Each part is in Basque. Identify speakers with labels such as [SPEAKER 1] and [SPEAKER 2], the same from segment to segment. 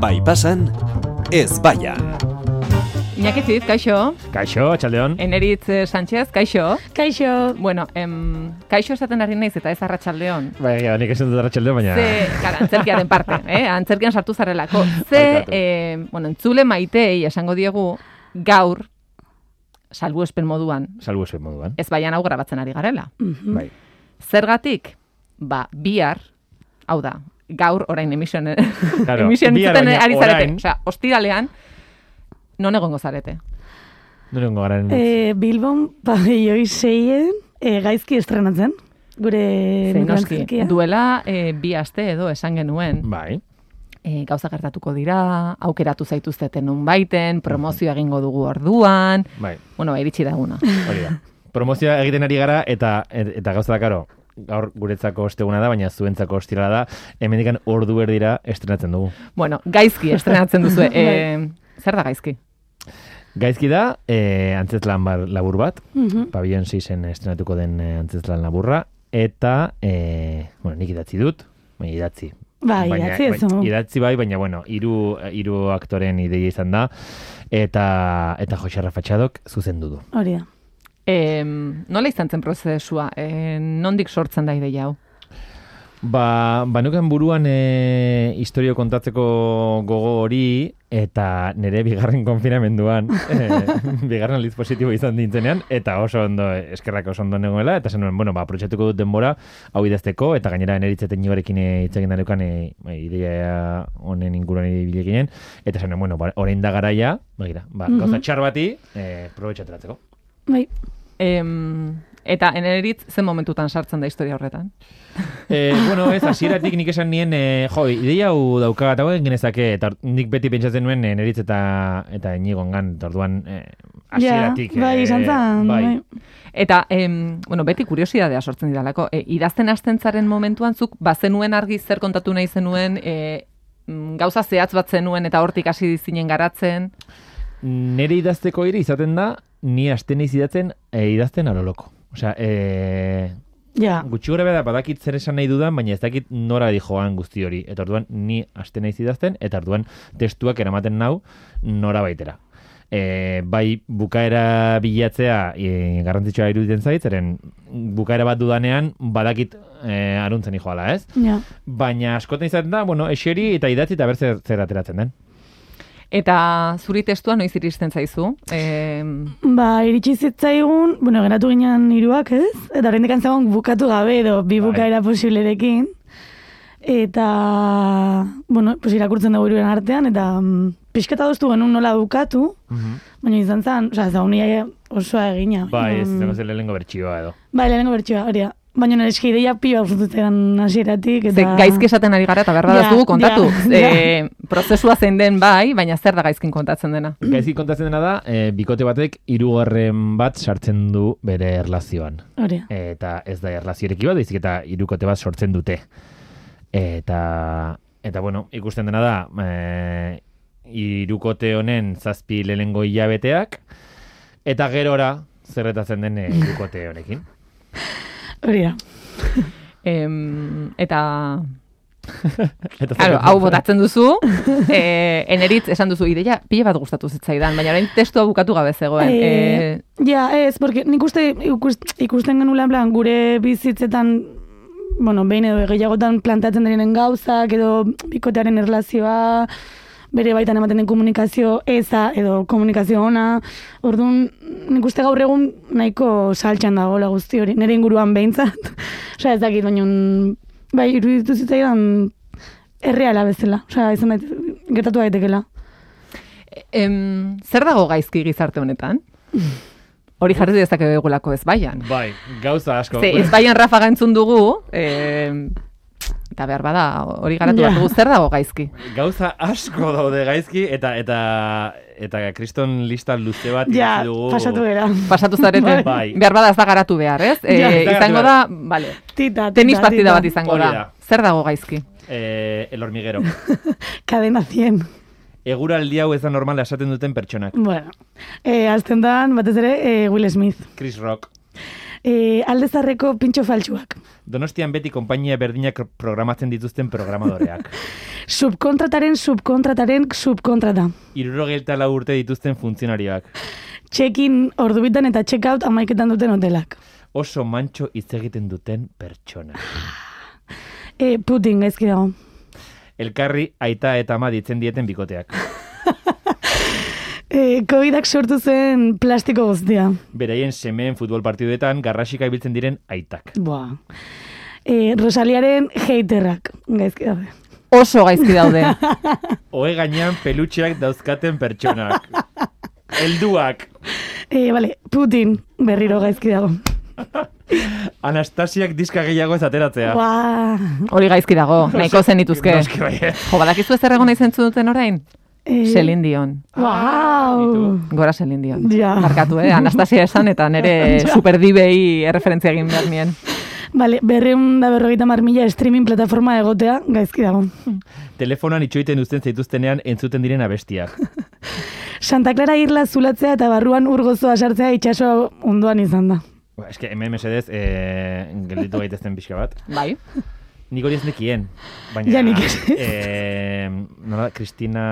[SPEAKER 1] Bai pasan, ez baian.
[SPEAKER 2] Iñakitziz, kaixo.
[SPEAKER 3] Kaixo, atxaldeon.
[SPEAKER 2] Eneritz eh, Sánchez, kaixo.
[SPEAKER 4] Kaixo.
[SPEAKER 2] Bueno, em, kaixo esaten ari naiz eta ez arratsaldeon.
[SPEAKER 3] Bai, ja, nik esan dut arratxaldeon, baina...
[SPEAKER 2] Ze, gara, antzerkiaren parte, eh? antzerkian sartu zarelako. Ze,
[SPEAKER 3] Barkatu.
[SPEAKER 2] eh, bueno, entzule maitei esango diegu, gaur, salbuespen moduan,
[SPEAKER 3] Salbu zuen moduan.
[SPEAKER 2] ez baian hau grabatzen ari garela.
[SPEAKER 3] Bai.
[SPEAKER 2] Zergatik, ba, bihar, hau da, gaur orain emision,
[SPEAKER 3] Claro,
[SPEAKER 2] emision
[SPEAKER 3] bihar
[SPEAKER 2] entzuten
[SPEAKER 3] baina
[SPEAKER 2] ari zarete.
[SPEAKER 3] orain.
[SPEAKER 2] Osea, ostiralean, non egongo zarete.
[SPEAKER 3] Norengo garen...
[SPEAKER 4] E, Bilbon, pabelloi seien, e, gaizki estrenatzen. Gure
[SPEAKER 2] Zein noski,
[SPEAKER 4] Eh, antzerkia.
[SPEAKER 2] duela eh, bi aste edo esan genuen,
[SPEAKER 3] Bai.
[SPEAKER 2] e, gauza gertatuko dira, aukeratu zaituzteten nonbaiten, promozioa egingo dugu orduan,
[SPEAKER 3] Bai,
[SPEAKER 2] bueno, ba, iritsi daguna.
[SPEAKER 3] hori da. Promozioa egiten ari gara eta et- eta gauza da, karo, gaur guretzako osteguna da, baina zuentzako ostira da, hemendikan ordu erdira estrenatzen dugu.
[SPEAKER 2] bueno, gaizki estrenatzen duzu, e,
[SPEAKER 4] Bai.
[SPEAKER 2] zer da gaizki?
[SPEAKER 3] Gaizki da, e, antzeslan bar- labur bat,
[SPEAKER 4] Mhm.
[SPEAKER 3] Pabillon 6en estrenatuko den eh, antzeslan laburra, eta, e, bueno, nik idatzi dut, baina idatzi.
[SPEAKER 4] Bai, idatzi ez du.
[SPEAKER 3] Idatzi bai, baina, bueno, hiru hiru aktoren ideia izan da, eta, eta Jose Rafatxadok zuzendu du.
[SPEAKER 4] Hori da.
[SPEAKER 2] E, nola izan zen prozesua? E, nondik sortzen da ideia hau?
[SPEAKER 3] Ba, banuken buruan e, historio kontatzeko gogo hori eta nire bigarren konfinamenduan, e, bigarren aldiz positibo izan dintzenean, eta oso ondo, e, eskerrak oso ondo nengoela, eta zen nuen, bueno, ba, aprotxatuko dut denbora, hau idazteko, eta gainera eneritzeten nigorekin e, itzakin danukan e, ba, ideia honen inguruan ibileginen, eta zen nuen, bueno, ba, orain da garaia, begira, ba, gauza txar bati, e, probetxateratzeko.
[SPEAKER 4] Bai.
[SPEAKER 2] E, eta eneritz zen momentutan sartzen da historia horretan?
[SPEAKER 3] E, bueno, ez, hasieratik nik esan nien, e, jo, ideia hau dauka eta hauen genezake, eta or- nik beti pentsatzen nuen e, neritz eta, eta inigongan, eta orduan, e, hasieratik.
[SPEAKER 4] Ja, bai,
[SPEAKER 3] eh,
[SPEAKER 4] izan zen. Bai.
[SPEAKER 2] Eta, em, bueno, beti kuriosidadea sortzen didalako. E, idazten hasten zaren momentuan, zuk bazenuen argi zer kontatu nahi zenuen, e, mm, gauza zehatz bat zenuen eta hortik hasi zinen garatzen.
[SPEAKER 3] Nere idazteko ere izaten da, ni hasten naiz idatzen, e, idazten aloloko. Osea, e,
[SPEAKER 4] Ja.
[SPEAKER 3] gutxi gora beda badakit zer esan nahi dudan, baina ez dakit nora dijoan guzti hori. Eta orduan ni hasten naiz idazten, eta orduan testuak eramaten nau nora baitera. E, bai bukaera bilatzea e, garrantzitsua iruditzen zait, zeren bukaera bat dudanean badakit e, aruntzen joala, ez?
[SPEAKER 4] Ja.
[SPEAKER 3] Baina askotan izaten da, bueno, eseri eta idatzi eta berzer zer ateratzen den.
[SPEAKER 2] Eta zuri testua noiz iristen zaizu? E,
[SPEAKER 4] Ba, iritsi zitzaigun, bueno, geratu ginen hiruak, ez? Eta oraindik antzagon bukatu gabe edo bi
[SPEAKER 3] Bai.
[SPEAKER 4] bukaera posiblerekin. Eta, bueno, pues irakurtzen dugu hiruren artean, eta mm, pixketa doztu genuen nola bukatu, baina izan zen, oza, ez da, unia osoa egina.
[SPEAKER 3] Bai, ez,
[SPEAKER 4] Mm.
[SPEAKER 3] mm. zen lehenengo bertxioa edo.
[SPEAKER 4] Bai, lehenengo bertxoa, hori da. Baina nire eski ideia pila usututzen hasieratik
[SPEAKER 2] ze,
[SPEAKER 4] eta...
[SPEAKER 2] gaizki esaten ari gara eta berra
[SPEAKER 4] Ja,
[SPEAKER 2] da dugu kontatu.
[SPEAKER 4] ja, ja.
[SPEAKER 2] E, prozesua zein den bai, baina zer da gaizkin kontatzen dena.
[SPEAKER 3] Gaizki kontatzen dena da, e, bikote batek hirugarren bat sartzen du bere erlazioan.
[SPEAKER 4] Hori da.
[SPEAKER 3] eta ez da erlaziorekin bat, baizik eta hirukote bat sortzen dute. Eta, eta bueno, ikusten dena da, e, irukote honen zazpi lehenengo hilabeteak, eta gerora zerretatzen den e, hirukote honekin.
[SPEAKER 4] Hori da.
[SPEAKER 2] E, eta...
[SPEAKER 3] Eta
[SPEAKER 2] Claro,
[SPEAKER 3] zerretatzen-
[SPEAKER 2] hau botatzen duzu, e, eneritz esan duzu ideia, pila bat gustatu zitzaidan, baina orain testua bukatu gabe zegoen. E,
[SPEAKER 4] Eh, ja, ez, porque nik uste ikus- ikusten genula plan, gure bizitzetan, bueno, behin edo gehiagotan plantatzen direnen gauzak, edo bikotearen erlazioa, bere baitan ematen den komunikazio eza, edo komunikazio ona, orduan nik uste gaur egun nahiko saltxan dagoela guzti hori, nire inguruan behintzat, osea ez dakit, baina bai, iruditu zitzaidan erreala bezala, osea izan daite, gertatu daitekela.
[SPEAKER 2] Em, zer dago gaizki gizarte honetan? Hori jarri dezake begulako ez baian.
[SPEAKER 3] Bai, gauza asko.
[SPEAKER 2] Ze, ez bai- baian Rafa gantzun dugu, em, eta behar bada hori garatu
[SPEAKER 4] Ja.
[SPEAKER 2] behar dugu, zer dago gaizki?
[SPEAKER 3] Gauza asko daude gaizki, eta eta eta kriston lista luze bat
[SPEAKER 4] Ja,
[SPEAKER 3] idatzi dugu.
[SPEAKER 4] pasatu gara.
[SPEAKER 2] Pasatu zarete,
[SPEAKER 3] Bai.
[SPEAKER 2] behar bada ez da garatu behar, ez? E,
[SPEAKER 4] Ja, ez
[SPEAKER 3] da
[SPEAKER 2] izango
[SPEAKER 3] garatu
[SPEAKER 2] da, vale,
[SPEAKER 4] Tita, tita,
[SPEAKER 2] tenis partida
[SPEAKER 4] tita.
[SPEAKER 2] bat izango
[SPEAKER 3] Hori
[SPEAKER 2] da.
[SPEAKER 3] da.
[SPEAKER 2] Zer dago gaizki?
[SPEAKER 3] Eh, el hormiguero.
[SPEAKER 4] Kadena 100.
[SPEAKER 3] Eguraldi hau ez da normala esaten duten pertsonak.
[SPEAKER 4] eh, Bueno, e, azten da, batez ere, e, eh, Will Smith.
[SPEAKER 3] Chris Rock.
[SPEAKER 4] e, aldezarreko pintxo faltsuak.
[SPEAKER 3] Donostian beti konpainia berdinak programatzen dituzten programadoreak.
[SPEAKER 4] Subkontrataren, subkontrataren, subkontrata.
[SPEAKER 3] Irurogeita lau urte dituzten funtzionarioak.
[SPEAKER 4] Check-in ordubitan eta check-out amaiketan duten hotelak.
[SPEAKER 3] Oso mantxo hitz egiten duten pertsona.
[SPEAKER 4] E, Putin gaizki dago.
[SPEAKER 3] Elkarri aita eta ama ditzen dieten bikoteak.
[SPEAKER 4] E, Covidak sortu zen plastiko guztia.
[SPEAKER 3] Beraien semeen futbol partiduetan garrasika ibiltzen diren aitak.
[SPEAKER 4] Boa. E, Rosaliaren haterrak, gaizki daude.
[SPEAKER 2] Oso gaizki daude.
[SPEAKER 3] Ohe gainean pelutxeak dauzkaten pertsonak. Helduak.
[SPEAKER 4] E, bale, Putin berriro gaizki dago.
[SPEAKER 3] Anastasiak diska gehiago ez ateratzea.
[SPEAKER 4] Boa.
[SPEAKER 2] Hori gaizki dago, nahiko zen dituzke.
[SPEAKER 3] Noski bai, eh. baiet.
[SPEAKER 2] Jo, badakizu ez errego nahi zentzu duten orain?
[SPEAKER 4] E,
[SPEAKER 2] Selin Dion.
[SPEAKER 4] Wow.
[SPEAKER 2] Gora Selin Dion.
[SPEAKER 4] Ja.
[SPEAKER 2] Barkatu, eh? Anastasia esan eta nire superdibei erreferentzia egin behar nien.
[SPEAKER 4] Bale, berreun da berrogeita mar mila streaming plataforma egotea gaizki dago.
[SPEAKER 3] Telefonan itxoiten uzten zaituztenean entzuten diren abestiak.
[SPEAKER 4] Santa Clara irla zulatzea eta barruan urgozoa sartzea itxaso ondoan izan da.
[SPEAKER 3] Ba, eske, hemen mesedez, eh, gelditu gaitezen pixka bat.
[SPEAKER 2] Bai.
[SPEAKER 3] Nik hori ez nekien, baina...
[SPEAKER 4] Ja, nik ez.
[SPEAKER 3] Eh, nola, Kristina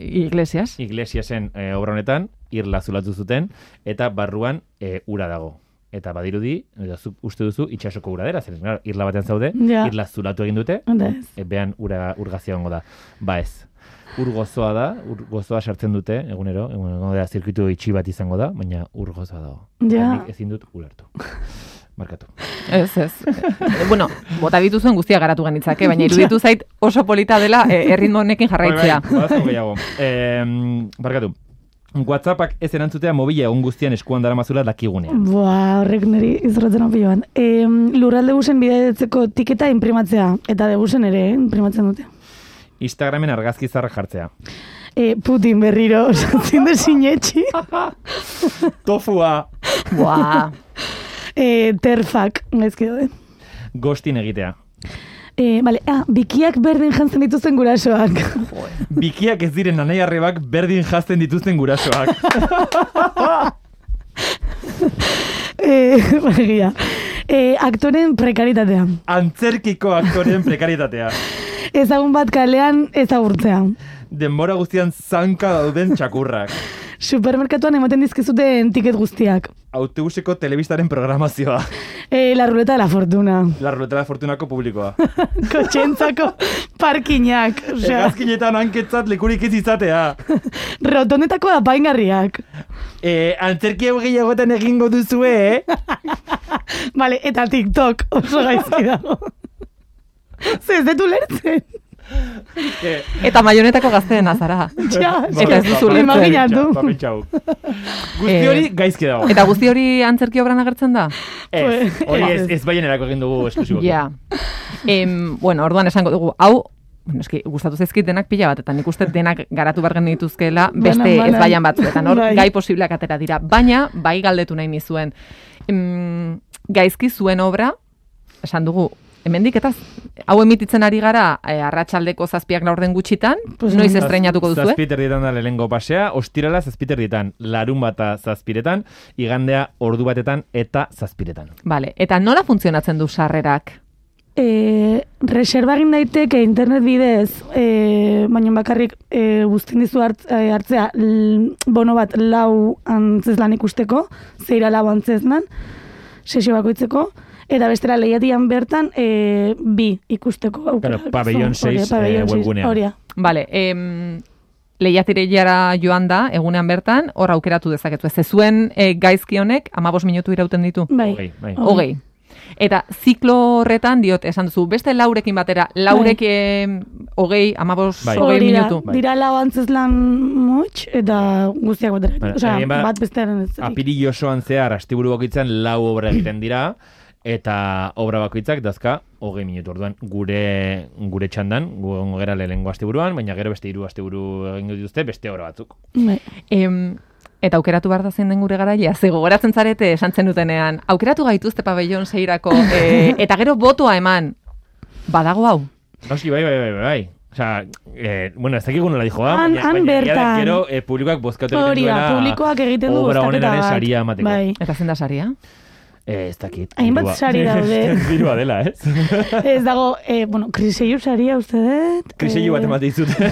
[SPEAKER 2] Iglesias.
[SPEAKER 3] Iglesiasen eh, obra honetan, irla zulatu zuten, eta barruan eh, ura dago. Eta badirudi, edo zuk uste duzu, itxasoko ura dela, zeren, claro, irla batean zaude,
[SPEAKER 4] Ja.
[SPEAKER 3] irla zulatu egin dute,
[SPEAKER 4] Onda ez.
[SPEAKER 3] e, behan ura, urgazia hongo da. Ba ez, ur gozoa da, ur gozoa sartzen dute, egunero, egunero da, zirkuitu itxi bat izango da, baina ur gozoa dago. Eta
[SPEAKER 4] Ja.
[SPEAKER 3] nik ezin dut ulertu. Markatu.
[SPEAKER 2] Ez, ez. Eh, bueno, bota dituzuen guztia garatu genitzake, baina iruditu zait oso polita dela eh, erritmo honekin jarraitzea.
[SPEAKER 3] Bai, bai, badago gehiago. Eh, barkatu. WhatsAppak ez erantzutea mobila egun guztian eskuan daramazula dakigunean.
[SPEAKER 4] Boa, horrek niri izratzen hau piloan. E, lurralde busen bideetzeko tiketa imprimatzea, eta debusen ere eh, imprimatzen dute.
[SPEAKER 3] Instagramen argazki zarra jartzea.
[SPEAKER 4] E, Putin berriro sartzen da sinetxi.
[SPEAKER 3] Tofua!
[SPEAKER 2] Boa.
[SPEAKER 4] E, terfak, gaizki daude.
[SPEAKER 3] Gostin egitea.
[SPEAKER 4] E, bale, ah, bikiak berdin jantzen dituzten gurasoak.
[SPEAKER 3] Bikiak ez diren anai arrebak berdin jazten dituzten gurasoak.
[SPEAKER 4] e, bargia. E, aktoren prekaritatea.
[SPEAKER 3] Antzerkiko aktoren prekaritatea.
[SPEAKER 4] Ezagun bat kalean ezagurtzea.
[SPEAKER 3] Denbora guztian zanka dauden txakurrak.
[SPEAKER 4] Supermerkatuan ematen dizkizuten tiket guztiak.
[SPEAKER 3] Autobuseko telebistaren programazioa.
[SPEAKER 4] E, la ruleta de la fortuna.
[SPEAKER 3] La ruleta de la fortunako publikoa.
[SPEAKER 4] Kotxentzako parkinak. Osea,
[SPEAKER 3] Hegazkinetan hanketzat lekurik ez izatea.
[SPEAKER 4] rotondetako apaingarriak.
[SPEAKER 3] E, antzerki hau gehiagotan egingo duzue, eh?
[SPEAKER 4] Vale, eta TikTok oso gaizki dago. Ze ez dut lertzen.
[SPEAKER 3] Eh,
[SPEAKER 2] Eta maionetako gazteena zara.
[SPEAKER 3] Ba,
[SPEAKER 4] Ja,
[SPEAKER 2] Eta ez duzu
[SPEAKER 3] Papen
[SPEAKER 2] ulertzen.
[SPEAKER 4] Imaginatu.
[SPEAKER 3] txau, papen txau. ba, Guzti
[SPEAKER 2] Eh,
[SPEAKER 3] hori gaizki dago.
[SPEAKER 2] Eta guzti hori antzerki obran agertzen da?
[SPEAKER 3] Ez,
[SPEAKER 4] Pues,
[SPEAKER 3] hori ez,
[SPEAKER 4] ez.
[SPEAKER 3] ez baienerako egin dugu
[SPEAKER 2] Ja.
[SPEAKER 3] esklusiboki.
[SPEAKER 2] Em, bueno, orduan esango dugu, hau, bueno, eski, gustatu zaizkit denak pila bat, eta nik uste denak garatu bargen dituzkela beste
[SPEAKER 4] Banan,
[SPEAKER 2] ez
[SPEAKER 4] banan.
[SPEAKER 2] baian batzuetan, hor,
[SPEAKER 4] Bai.
[SPEAKER 2] gai posibleak atera dira. Baina, bai galdetu nahi nizuen, em, gaizki zuen obra, esan dugu, hemendik eta z- hau emititzen ari gara eh, arratsaldeko zazpiak laur den gutxitan,
[SPEAKER 4] Pues,
[SPEAKER 2] noiz
[SPEAKER 4] zaz-
[SPEAKER 2] estreinatuko duzu, eh?
[SPEAKER 3] Zazpiterdietan da lehengo pasea, ostirala zazpiterdietan, larun bata zazpiretan, igandea ordu batetan eta zazpiretan.
[SPEAKER 2] Vale. Eta nola funtzionatzen du sarrerak?
[SPEAKER 4] E, reserva egin daiteke internet bidez, e, baina bakarrik e, guztin dizu hart, e, hartzea l, bono bat lau antzeslan ikusteko, zeira lau antzeslan, sesio bakoitzeko, eta bestera lehiatian bertan e, bi ikusteko. aukera
[SPEAKER 3] Claro, pabellón
[SPEAKER 4] duzu. Hori,
[SPEAKER 3] seis,
[SPEAKER 4] pabellón
[SPEAKER 3] eh,
[SPEAKER 4] seis,
[SPEAKER 3] webgunean.
[SPEAKER 4] hori da.
[SPEAKER 2] Vale, em, lehiatirellara joan da, egunean bertan, hor aukeratu dezaketu. Ez zuen e, gaizki honek, amabos minutu irauten ditu.
[SPEAKER 4] Bai.
[SPEAKER 3] Hogei, bai.
[SPEAKER 4] Hogei.
[SPEAKER 2] Hogei. Eta ziklo horretan, diot, esan duzu, beste laurekin batera, laurek em, hogei, amabos,
[SPEAKER 3] Bai.
[SPEAKER 2] hogei
[SPEAKER 4] Bai. Hori da,
[SPEAKER 2] minutu.
[SPEAKER 3] Bai.
[SPEAKER 4] Dira lau antzeslan motx, eta guztiak batera.
[SPEAKER 3] Bueno,
[SPEAKER 4] Osea,
[SPEAKER 3] egin ba-
[SPEAKER 4] bat bestearen ez.
[SPEAKER 3] Apiri osoan zehar, astiburu bakoitzan lau obra egiten dira, eta obra bakoitzak dazka hogei minutu. Orduan, gure, gure txandan, gu egongo gara lehengo asteburuan, baina gero beste hiru asteburu egingo dituzte beste obra batzuk.
[SPEAKER 4] Bai.
[SPEAKER 2] Em, eta aukeratu behar da zein den gure garaia, ze gogoratzen zarete esan zenutenean, aukeratu gaituzte pabellon zeirako, e, eta gero botoa eman, badago hau.
[SPEAKER 3] Noski, bai, bai, bai, bai, bai. Osea, eh, bueno, ez dakik nola dijoa,
[SPEAKER 4] Han- han
[SPEAKER 3] egia da
[SPEAKER 4] bertan.
[SPEAKER 3] gero eh, publikoak bozkatu egiten
[SPEAKER 4] Hori da,
[SPEAKER 3] duela
[SPEAKER 4] publikoak egiten du
[SPEAKER 3] obra
[SPEAKER 4] bozkaketa
[SPEAKER 3] honenaren
[SPEAKER 4] bat.
[SPEAKER 3] saria emateko.
[SPEAKER 4] Bai.
[SPEAKER 2] Eta zein da saria?
[SPEAKER 3] Eh, ez dakit.
[SPEAKER 4] Hainbat
[SPEAKER 3] dirua.
[SPEAKER 4] sari daude.
[SPEAKER 3] Dirua dela, ez?
[SPEAKER 4] Ez dago, eh, bueno, kriseiu saria uste dut. eh,
[SPEAKER 3] Kriseilu bat emate izute.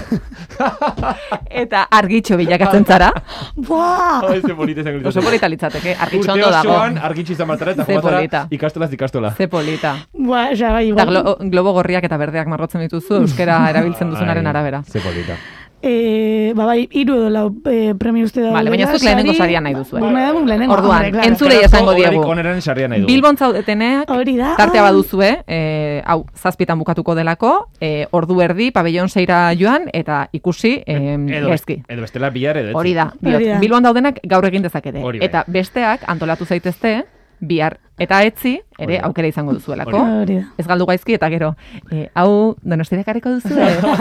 [SPEAKER 2] Eta argitxo bilakatzen zara.
[SPEAKER 4] Buah!
[SPEAKER 3] Ze polita izango litzateke.
[SPEAKER 2] Oso polita litzateke, argitxo
[SPEAKER 3] Urte
[SPEAKER 2] ondo dago.
[SPEAKER 3] osoan argitxo izan batara eta
[SPEAKER 2] Ze polita.
[SPEAKER 3] jomatara ikastolaz ikastola.
[SPEAKER 2] Ze polita.
[SPEAKER 4] Buah, osea, bai,
[SPEAKER 2] Eta
[SPEAKER 4] igual.
[SPEAKER 2] glo globo gorriak eta berdeak marrotzen dituzu, euskera erabiltzen duzunaren
[SPEAKER 3] Ai,
[SPEAKER 2] arabera.
[SPEAKER 3] Ze polita.
[SPEAKER 4] Eh, ba, bai, hiru edo lau eh, premio uste dago.
[SPEAKER 2] Vale, baina zuk lehenengo saria nahi duzu, eh?
[SPEAKER 4] lehenengo.
[SPEAKER 2] Orduan,
[SPEAKER 4] hombre, claro.
[SPEAKER 2] entzulei esango diegu.
[SPEAKER 3] Oneren sarria nahi dugu.
[SPEAKER 2] Bilbon zaudeteneak,
[SPEAKER 4] Hori da.
[SPEAKER 2] tartea
[SPEAKER 4] ai.
[SPEAKER 2] baduzue, eh, hau, zazpitan bukatuko delako, eh, ordu erdi, pabellon seira joan, eta ikusi eh,
[SPEAKER 3] edo,
[SPEAKER 2] gaizki.
[SPEAKER 3] edo bestela bihar edo. etzi.
[SPEAKER 2] Hori da, diot,
[SPEAKER 4] Hori da.
[SPEAKER 2] Bilbon daudenak gaur egin dezakete.
[SPEAKER 3] Hori bai.
[SPEAKER 2] Eta besteak antolatu zaitezte, bihar eta etzi,
[SPEAKER 3] Hori
[SPEAKER 2] ere
[SPEAKER 3] da.
[SPEAKER 2] aukera izango duzuelako.
[SPEAKER 4] Hori da.
[SPEAKER 2] Ez galdu gaizki eta gero, eh, hau donostirak harriko duzu,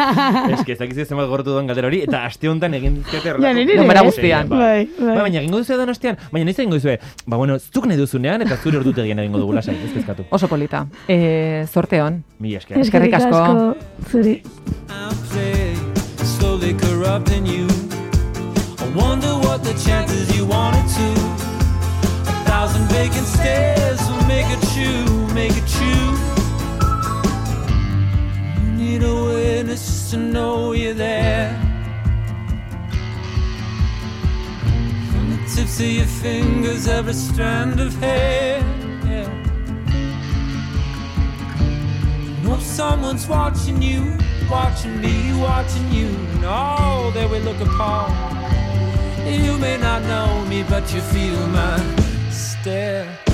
[SPEAKER 3] Ez que ez dakizu zenbat gortu duan galdera hori, eta aste honetan egin dizkete
[SPEAKER 4] Ja, niri ere.
[SPEAKER 2] Denbora guztian.
[SPEAKER 3] Bai,
[SPEAKER 4] Bai, bai.
[SPEAKER 3] Ba, baina egingo duzu edo astean, baina noiz egingo duzu, ba, bueno, zuk nahi duzunean, eta zure ordutegian egingo dugu lasai, ez kezkatu.
[SPEAKER 2] Oso polita. Eh, sorte on.
[SPEAKER 3] Mila esker.
[SPEAKER 2] Eskerrik
[SPEAKER 4] Eskerrik
[SPEAKER 2] asko.
[SPEAKER 4] asko. Zuri.
[SPEAKER 5] outplay, slowly corrupting you. I wonder what the chances you wanted to. A thousand vacant stares will make a chew, make a chew. You need a witness to know you're there. From the tips of your fingers, every strand of hair. Yeah. Know someone's watching you, watching me, watching you, and all that we look upon. You may not know me, but you feel my stare.